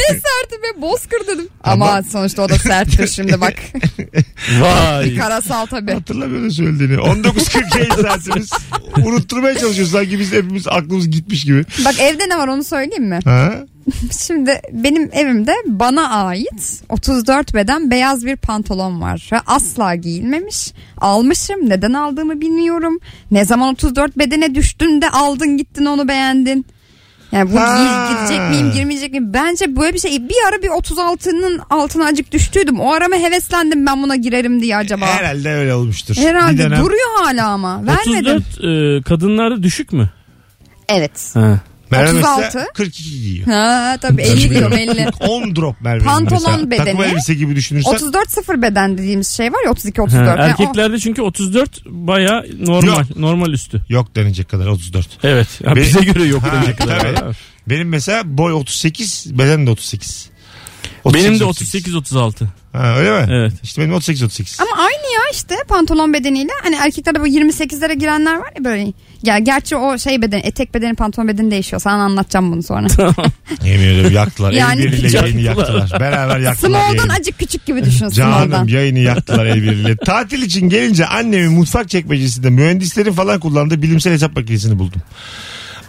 [SPEAKER 3] Sertti be bozkır dedim. Ama, sonuçta o da serttir şimdi bak.
[SPEAKER 4] Vay.
[SPEAKER 3] Karasal tabii.
[SPEAKER 2] Hatırlamıyorum söylediğini. 19.40 saatimiz. Unutturmaya çalışıyoruz. Sanki biz hepimiz aklımız gitmiş gibi.
[SPEAKER 3] Bak evde ne var onu söyleyeyim mi?
[SPEAKER 2] Ha?
[SPEAKER 3] Şimdi benim evimde bana ait 34 beden beyaz bir pantolon var. Ve Asla giyilmemiş. Almışım. Neden aldığımı bilmiyorum. Ne zaman 34 bedene düştün de aldın gittin onu beğendin. Yani bu
[SPEAKER 2] Ha.
[SPEAKER 3] giy- gidecek miyim girmeyecek miyim? Bence böyle bir şey. Bir ara bir 36'nın altına acık düştüydüm. O arama heveslendim ben buna girerim diye acaba. Herhalde,
[SPEAKER 2] Herhalde öyle olmuştur. Bir dönem-
[SPEAKER 3] duruyor hala ama. Vermedim.
[SPEAKER 4] 34 e, kadınlarda düşük mü?
[SPEAKER 3] Evet.
[SPEAKER 4] Ha.
[SPEAKER 2] Merve mesela
[SPEAKER 3] 36.
[SPEAKER 2] 42 giyiyor.
[SPEAKER 3] Ha tabii 50 diyorum 50.
[SPEAKER 2] 10 drop Merve.
[SPEAKER 3] Pantolon
[SPEAKER 2] mesela. Takım
[SPEAKER 3] bedeni.
[SPEAKER 2] elbise gibi düşünürsen.
[SPEAKER 3] 34-0 beden dediğimiz şey var ya 32
[SPEAKER 4] Ha,
[SPEAKER 3] 34. Yani o-
[SPEAKER 4] Erkeklerde çünkü 34 baya normal.
[SPEAKER 2] Yok.
[SPEAKER 4] Normal üstü.
[SPEAKER 2] Yok denecek kadar 34.
[SPEAKER 4] Evet. Ha,
[SPEAKER 2] Be-
[SPEAKER 4] bize göre yok.
[SPEAKER 2] Ha,
[SPEAKER 4] erkekler.
[SPEAKER 2] tabii. Benim mesela boy 38, beden de 38.
[SPEAKER 4] Benim de 38-36.
[SPEAKER 2] Ha, öyle mi?
[SPEAKER 4] Evet.
[SPEAKER 2] İşte benim 38 38.
[SPEAKER 3] Ama aynı ya işte pantolon bedeniyle. Hani erkeklerde bu 28'lere girenler var ya böyle. Ya gerçi o şey beden etek bedeni pantolon bedeni değişiyor. Sana anlatacağım bunu sonra.
[SPEAKER 2] Yemin ediyorum yaktılar. Yani
[SPEAKER 3] Yani-
[SPEAKER 2] el birliğiyle yayını
[SPEAKER 4] Yaktılar.
[SPEAKER 2] yaktılar. Beraber yaktılar
[SPEAKER 3] Small'dan
[SPEAKER 2] yayını.
[SPEAKER 3] acık küçük gibi düşün Small'dan.
[SPEAKER 2] Canım yayını yaktılar el birliğiyle. Tatil için gelince annemin mutfak çekmecesinde mühendislerin falan kullandığı bilimsel hesap makinesini buldum.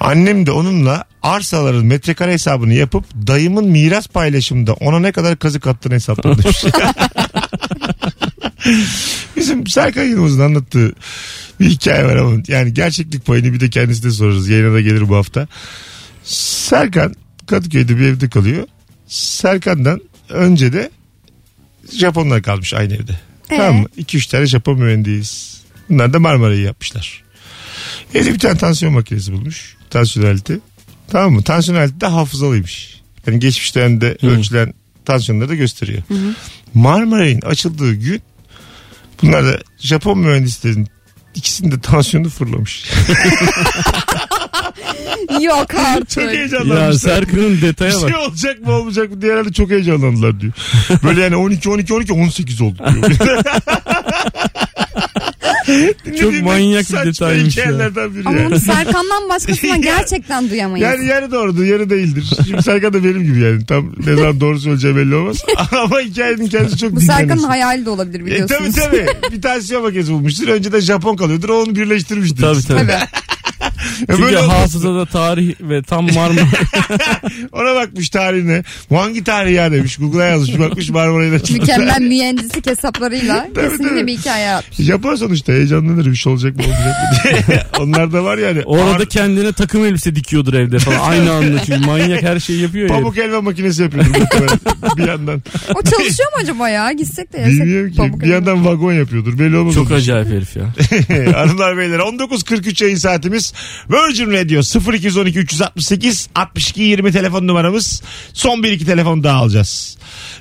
[SPEAKER 2] Annem de onunla arsaların metrekare hesabını yapıp dayımın miras paylaşımında ona ne kadar kazık attığını hesapladı. Bizim Serkan Yılmaz'ın anlattığı bir hikaye var ama yani gerçeklik payını bir de kendisine sorarız. Yayına da gelir bu hafta. Serkan Kadıköy'de bir evde kalıyor. Serkan'dan önce de Japonlar kalmış aynı evde.
[SPEAKER 3] Ee?
[SPEAKER 2] Tamam mı? 2-3 tane Japon mühendiyiz. Bunlar da Marmara'yı yapmışlar. Evde bir tane tansiyon makinesi bulmuş. Tansiyon aleti. Tamam mı? Tansiyon aleti de hafızalıymış. Yani geçmiş dönemde ölçülen tansiyonları da gösteriyor. Marmara'nın açıldığı gün bunlar da Japon mühendislerin ikisinin de tansiyonu fırlamış.
[SPEAKER 3] Yok
[SPEAKER 2] Çok
[SPEAKER 3] artık.
[SPEAKER 4] Ya
[SPEAKER 2] heyecanlanmışlar.
[SPEAKER 4] Serkan'ın
[SPEAKER 2] bir
[SPEAKER 4] detaya
[SPEAKER 2] şey
[SPEAKER 4] bak.
[SPEAKER 2] olacak mı olmayacak mı diye herhalde çok heyecanlandılar diyor. Böyle yani 12 12 12 18 oldu diyor.
[SPEAKER 4] Çok manyak bir detaymış ya.
[SPEAKER 2] hikayelerden biri.
[SPEAKER 3] Ama
[SPEAKER 2] yani.
[SPEAKER 3] onu Serkan'dan
[SPEAKER 2] Ya-
[SPEAKER 3] başkasından gerçekten duyamayız.
[SPEAKER 2] Yani yarı doğrudur yarı değildir. Şimdi Serkan da benim gibi yani. Tam ne zaman doğru söyleyeceği belli olmaz. Ama hikayenin kendisi çok
[SPEAKER 3] Bu
[SPEAKER 2] dinlenir.
[SPEAKER 3] Serkan'ın hayali de olabilir
[SPEAKER 2] E,
[SPEAKER 3] biliyorsunuz.
[SPEAKER 2] tabii tabii. Bir tansiyon makinesi bulmuştur. Önce de Japon kalıyordur. O onu birleştirmiştir.
[SPEAKER 4] Tabii tabii.
[SPEAKER 2] E,
[SPEAKER 4] Çünkü
[SPEAKER 2] böyle olmaz.
[SPEAKER 4] hafızada tarih ve tam Marmara.
[SPEAKER 2] Ona bakmış tarihine. Bu hangi tarih ya demiş. Google'a yazmış. Bakmış Marmara'yı da çıkmış.
[SPEAKER 3] Mükemmel mühendislik hesaplarıyla kesinlikle
[SPEAKER 2] tabii.
[SPEAKER 3] bir hikaye yapmış.
[SPEAKER 2] Japon sonuçta heyecanlanır bir şey olacak mı olmayacak mı diye. Onlar da var yani.
[SPEAKER 4] Orada
[SPEAKER 2] Ağır-
[SPEAKER 4] kendine takım elbise dikiyordur evde falan. Aynı anda çünkü manyak her şeyi yapıyor ya.
[SPEAKER 2] Pamuk elma makinesi yapıyordur muhtemelen bir yandan.
[SPEAKER 3] O çalışıyor mu acaba ya? Gitsek de yesek.
[SPEAKER 2] Bilmiyorum ki.
[SPEAKER 3] pamuk
[SPEAKER 2] Bir
[SPEAKER 3] elma.
[SPEAKER 2] yandan vagon yapıyordur. Belli olmaz.
[SPEAKER 4] Çok acayip herif ya.
[SPEAKER 2] Hanımlar beyler 19.43 yayın saatimiz. Virgin Radio 0212 368 62 20 telefon numaramız. Son bir iki telefon daha alacağız.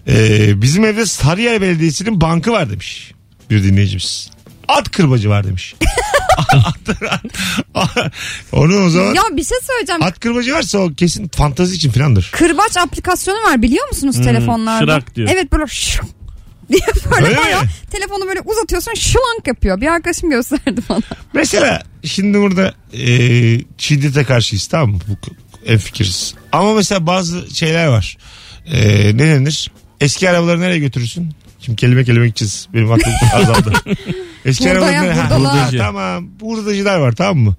[SPEAKER 2] Ee, bizim evde Sarıyer Belediyesi'nin bankı var demiş bir dinleyicimiz. At kırbacı var demiş. Onu o zaman...
[SPEAKER 3] Ya bir şey söyleyeceğim.
[SPEAKER 2] At kırbacı varsa o kesin fantazi için filandır.
[SPEAKER 3] Kırbaç aplikasyonu var biliyor musunuz telefonlarda?
[SPEAKER 4] şırak diyor.
[SPEAKER 3] Evet böyle şık diye böyle
[SPEAKER 2] Öyle mi?
[SPEAKER 3] bayağı telefonu böyle uzatıyorsun şılank yapıyor. Bir arkadaşım gösterdi bana.
[SPEAKER 2] Mesela şimdi burada e, şiddete karşıyız tamam mı? Bu en fikiriz. Ama mesela bazı şeyler var. Ee, ne denir? Eski arabaları nereye götürürsün? Şimdi kelime kelime gideceğiz. Benim aklım azaldı. Eski
[SPEAKER 3] Buğdaya,
[SPEAKER 2] arabaları nereye- Ha,
[SPEAKER 3] buğdala.
[SPEAKER 2] buğdacı. tamam. Hurdacılar var tamam mı?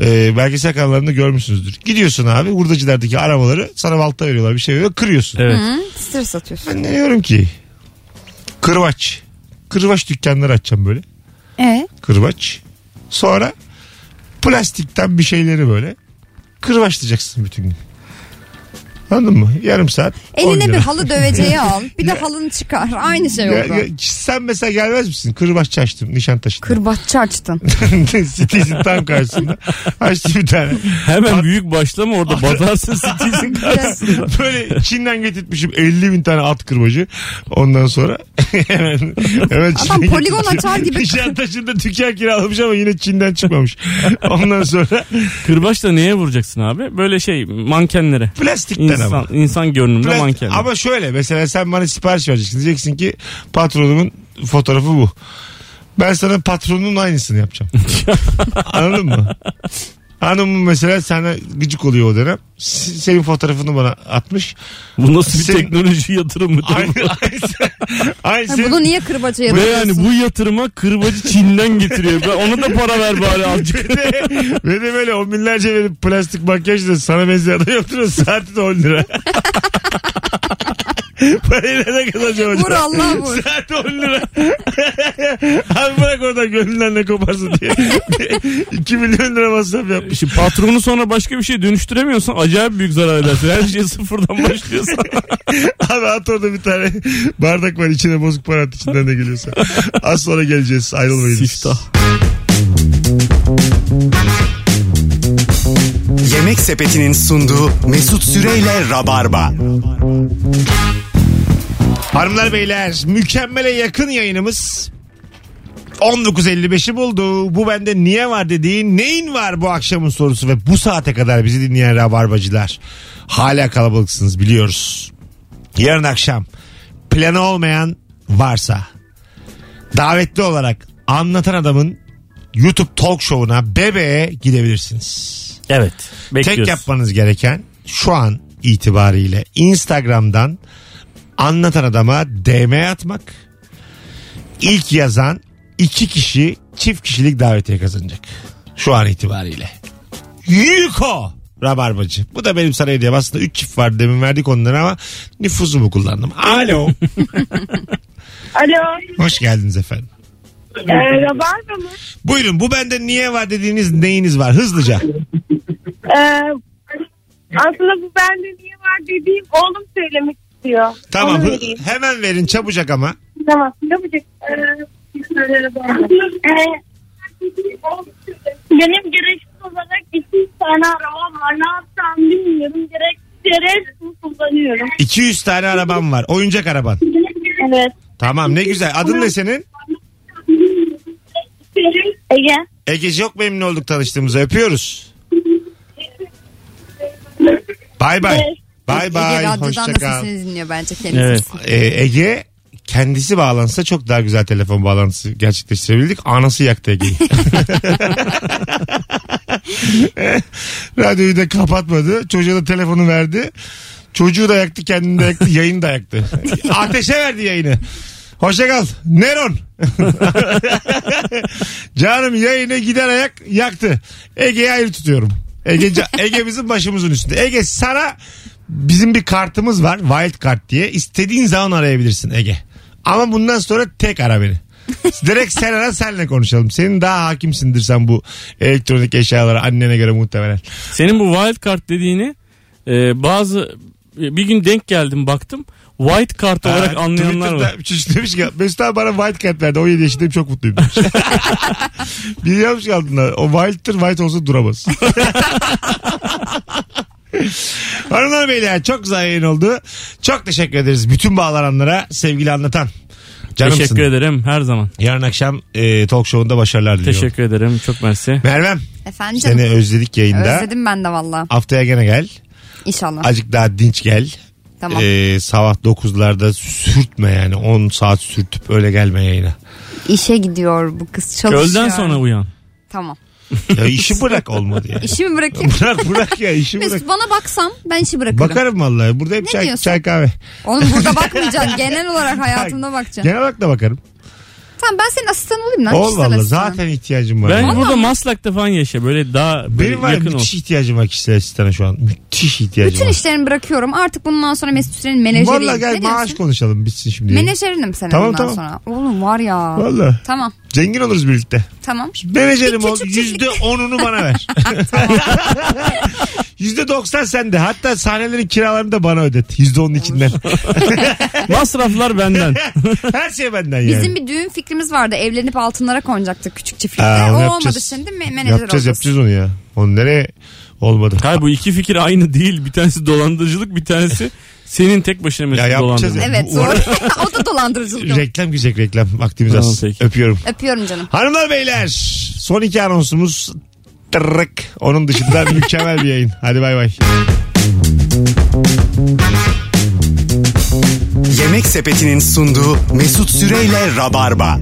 [SPEAKER 2] Ee, belgesel kanallarında görmüşsünüzdür. Gidiyorsun abi hurdacılardaki arabaları sana balta veriyorlar bir şey veriyorlar kırıyorsun.
[SPEAKER 4] Evet.
[SPEAKER 3] Sır satıyorsun.
[SPEAKER 2] Ben ne diyorum ki? Kırbaç. Kırbaç dükkanları açacağım böyle.
[SPEAKER 3] E?
[SPEAKER 2] Kırbaç. Sonra plastikten bir şeyleri böyle kırbaçlayacaksın bütün gün. Anladın mı? Yarım saat. 10
[SPEAKER 3] Eline
[SPEAKER 2] lira.
[SPEAKER 3] bir halı döveceği al. Bir de halını çıkar. Aynı şey
[SPEAKER 2] Ya- ya
[SPEAKER 3] oldu.
[SPEAKER 2] sen mesela gelmez misin? Kırbaççı açtım Nişantaşı'nda.
[SPEAKER 3] Kırbaççı açtın.
[SPEAKER 2] Sitesinin tam karşısında. Açtı bir tane.
[SPEAKER 4] Hemen büyük başlama orada batarsın sikilsin.
[SPEAKER 2] Böyle Çin'den getirtmişim 50 bin tane at kırbacı. Ondan sonra hemen, hemen Çin'den
[SPEAKER 3] poligon
[SPEAKER 2] getirtmişim.
[SPEAKER 3] açar gibi.
[SPEAKER 2] Nişantaşı'nda dükkan kiralamış ama yine Çin'den çıkmamış. Ondan sonra
[SPEAKER 4] Kırbaçla neye vuracaksın abi? Böyle şey mankenlere.
[SPEAKER 2] plastikten ama.
[SPEAKER 4] İnsan, insan görünümlü
[SPEAKER 2] Plastik-
[SPEAKER 4] mankenlere.
[SPEAKER 2] Ama şöyle mesela sen bana sipariş vereceksin. Diyeceksin ki patronumun fotoğrafı bu. Ben sana patronunun aynısını yapacağım. Anladın mı? Hanımın mesela sana gıcık oluyor o dönem. S- Senin fotoğrafını bana atmış.
[SPEAKER 4] Bu nasıl bir
[SPEAKER 2] Senin-
[SPEAKER 4] teknoloji yatırımı?
[SPEAKER 2] Aynı,
[SPEAKER 4] Bu-
[SPEAKER 2] aynı, aynı
[SPEAKER 3] Ha,
[SPEAKER 2] senin-
[SPEAKER 3] Bunu niye kırbaça
[SPEAKER 4] Ve yani
[SPEAKER 3] yatırıyorsun?
[SPEAKER 4] bu yatırıma kırbacı Çin'den getiriyor. Ben ona da para ver bari azıcık.
[SPEAKER 2] Ve de böyle on binlerce verip plastik makyajla sana benzeyen adam yaptırıyor. Saati de 10 lira. Parayla ne kazanacağım
[SPEAKER 3] Vur
[SPEAKER 2] acaba?
[SPEAKER 3] Allah vur.
[SPEAKER 2] Saat 10 lira. Abi bırak oradan gönlünden ne koparsın diye. 2 milyon lira masraf yapmış.
[SPEAKER 4] Şimdi patronu sonra başka bir şey dönüştüremiyorsan acayip büyük zarar edersin. Her şey sıfırdan başlıyorsan.
[SPEAKER 2] Abi at orada bir tane bardak var içine bozuk para at içinden de geliyorsa. Az sonra geleceğiz ayrılmayınız.
[SPEAKER 4] Siftah.
[SPEAKER 1] Yemek Sepeti'nin sunduğu Mesut Süreyle Rabarba.
[SPEAKER 2] Hanımlar beyler mükemmele yakın yayınımız 19.55'i buldu. Bu bende niye var dediğin neyin var bu akşamın sorusu ve bu saate kadar bizi dinleyen rabarbacılar. Hala kalabalıksınız biliyoruz. Yarın akşam planı olmayan varsa davetli olarak anlatan adamın YouTube talk show'una bebeğe gidebilirsiniz.
[SPEAKER 4] Evet. Bekliyoruz.
[SPEAKER 2] Tek yapmanız gereken şu an itibariyle Instagram'dan anlatan adama DM atmak. İlk yazan iki kişi çift kişilik davetiye kazanacak. Şu an itibariyle. Yuko Rabarbacı. Bu da benim sana hediyem. Aslında 3 çift vardı demin verdik onları ama nüfuzumu kullandım. Alo.
[SPEAKER 9] Alo.
[SPEAKER 2] Hoş geldiniz efendim.
[SPEAKER 9] Ee, Rabarba mı?
[SPEAKER 2] Buyurun bu bende niye var dediğiniz neyiniz var hızlıca.
[SPEAKER 9] Ee, aslında bu bende niye var dediğim oğlum söylemek istiyor.
[SPEAKER 2] Tamam
[SPEAKER 9] Onu
[SPEAKER 2] hı-
[SPEAKER 9] vereyim.
[SPEAKER 2] hemen verin çabucak ama.
[SPEAKER 9] Tamam. Yapacak. Ee, Ee, benim gereksiz olarak iki tane arabam var. Ne yapsam bilmiyorum. Gereksiz yere bunu kullanıyorum.
[SPEAKER 2] 200 tane araban var. Oyuncak araban.
[SPEAKER 9] Evet.
[SPEAKER 2] Tamam ne güzel. Adın ne senin?
[SPEAKER 9] Ege.
[SPEAKER 2] Egeci yok memnun olduk tanıştığımıza. Öpüyoruz. Bay bay.
[SPEAKER 9] Evet.
[SPEAKER 2] Bay
[SPEAKER 3] Ege
[SPEAKER 2] bay.
[SPEAKER 3] radyodan
[SPEAKER 2] Hoşça
[SPEAKER 3] da
[SPEAKER 2] kal.
[SPEAKER 3] sesinizi dinliyor bence kendisi.
[SPEAKER 4] Evet.
[SPEAKER 2] Ee, Ege kendisi bağlansa çok daha güzel telefon bağlantısı gerçekleştirebildik. Anası yaktı Ege'yi. Radyoyu da kapatmadı. Çocuğa da telefonu verdi. Çocuğu da yaktı, kendini de yaktı, yayını da yaktı. Ateşe verdi yayını. Hoşça kal. Neron. Canım yayını gider ayak yaktı. Ege'yi ayrı tutuyorum. Ege, Ege bizim başımızın üstünde. Ege sana bizim bir kartımız var. Wild kart diye. İstediğin zaman arayabilirsin Ege. Ama bundan sonra tek ara beni. Direkt sen ara senle konuşalım. Senin daha hakimsindir sen bu elektronik eşyalara annene göre muhtemelen.
[SPEAKER 4] Senin bu wild card dediğini e, bazı e, bir gün denk geldim baktım. White card olarak
[SPEAKER 2] Ha,
[SPEAKER 4] anlayanlar
[SPEAKER 2] Twitter'da
[SPEAKER 4] var.
[SPEAKER 2] bir Çocuk demiş ki Mesut abi bana wild card verdi. 17 yaşındayım çok mutluyum demiş. Biri yapmış ki altında. O wild'tır wild olsa duramaz. Hanımlar beyler çok güzel yayın oldu. Çok teşekkür ederiz bütün bağlananlara sevgili anlatan. Canımsın.
[SPEAKER 4] Teşekkür ederim her zaman.
[SPEAKER 2] Yarın akşam e, talk show'unda başarılar diliyorum.
[SPEAKER 4] Teşekkür ederim çok mersi.
[SPEAKER 2] Mervem
[SPEAKER 3] Efendim canım.
[SPEAKER 2] seni özledik yayında.
[SPEAKER 3] Özledim ben de valla.
[SPEAKER 2] Haftaya gene gel.
[SPEAKER 3] İnşallah.
[SPEAKER 2] Azıcık daha dinç gel.
[SPEAKER 3] tamam.
[SPEAKER 2] Ee, sabah 9'larda sürtme yani 10 saat sürtüp öyle gelme yayına.
[SPEAKER 3] İşe gidiyor bu kız çalışıyor.
[SPEAKER 4] Öğleden sonra uyan.
[SPEAKER 3] Tamam.
[SPEAKER 2] Ya işi bırak olmadı yani.
[SPEAKER 3] İşimi bırakayım.
[SPEAKER 2] bırak bırak ya işi bırak.
[SPEAKER 3] Mesut bana baksam ben işi bırakırım.
[SPEAKER 2] Bakarım vallahi. Burada hep
[SPEAKER 3] Ne
[SPEAKER 2] çay,
[SPEAKER 3] diyorsun?
[SPEAKER 2] çay kahve.
[SPEAKER 3] Oğlum burada bakmayacaksın. Genel olarak hayatımda bakacaksın.
[SPEAKER 2] Genel olarak da bakarım.
[SPEAKER 3] Tamam ben senin asistanı olayım lan.
[SPEAKER 2] Ol
[SPEAKER 3] kişisel
[SPEAKER 2] valla
[SPEAKER 3] asistanı.
[SPEAKER 2] zaten ihtiyacım var.
[SPEAKER 4] Ben
[SPEAKER 2] Yani.
[SPEAKER 4] burada Maslak'ta falan yaşa. Böyle daha böyle
[SPEAKER 2] Benim var ya,
[SPEAKER 4] yakın ol.
[SPEAKER 2] müthiş ihtiyacım var kişisel asistana şu an. Müthiş ihtiyacım
[SPEAKER 3] Bütün
[SPEAKER 2] var.
[SPEAKER 3] işlerimi bırakıyorum. Artık bundan sonra Mesut Süren'in menajeriyim.
[SPEAKER 2] Valla gel
[SPEAKER 3] Ne
[SPEAKER 2] maaş
[SPEAKER 3] diyorsun?
[SPEAKER 2] konuşalım bitsin şimdi.
[SPEAKER 3] Menajerinim senin
[SPEAKER 2] Tamam,
[SPEAKER 3] bundan
[SPEAKER 2] tamam.
[SPEAKER 3] sonra. Oğlum var ya.
[SPEAKER 2] Valla.
[SPEAKER 3] Tamam
[SPEAKER 2] Zengin oluruz birlikte.
[SPEAKER 3] tamam.
[SPEAKER 2] Menajerim
[SPEAKER 3] Bir
[SPEAKER 2] ol.
[SPEAKER 3] küçük çiftlik.
[SPEAKER 2] Yüzde onunu bana ver. Yüzde doksan sende. Hatta sahnelerin kiralarını da bana ödet. Yüzde onun içinden.
[SPEAKER 4] Masraflar benden.
[SPEAKER 2] Her şey benden yani.
[SPEAKER 3] Bizim bir düğün fikrimiz vardı. Evlenip altınlara konacaktık küçük çiftlikte.
[SPEAKER 2] Aa, Ee, onu
[SPEAKER 3] o olmadı
[SPEAKER 2] yapacağız.
[SPEAKER 3] şimdi me- menajer
[SPEAKER 2] yapacağız
[SPEAKER 3] olacağız.
[SPEAKER 2] yapacağız onu ya. Onu nereye olmadı.
[SPEAKER 4] Hayır bu iki fikir aynı değil. Bir tanesi dolandırıcılık bir tanesi senin tek başına
[SPEAKER 2] Ya
[SPEAKER 4] mesela
[SPEAKER 2] yapacağız
[SPEAKER 4] dolandırıcılık.
[SPEAKER 2] ya.
[SPEAKER 3] Evet
[SPEAKER 2] Bu arada-
[SPEAKER 3] doğru. o da dolandırıcılık. oldu.
[SPEAKER 2] Reklam güzel reklam. Vaktimiz
[SPEAKER 4] Tamam,
[SPEAKER 2] az.
[SPEAKER 4] peki.
[SPEAKER 2] Öpüyorum.
[SPEAKER 3] Öpüyorum canım.
[SPEAKER 2] Hanımlar beyler son iki anonsumuz tırrık. Onun dışında mükemmel bir yayın. Hadi bay bay.
[SPEAKER 1] Yemek Sepeti'nin sunduğu Mesut Süreyle Rabarba.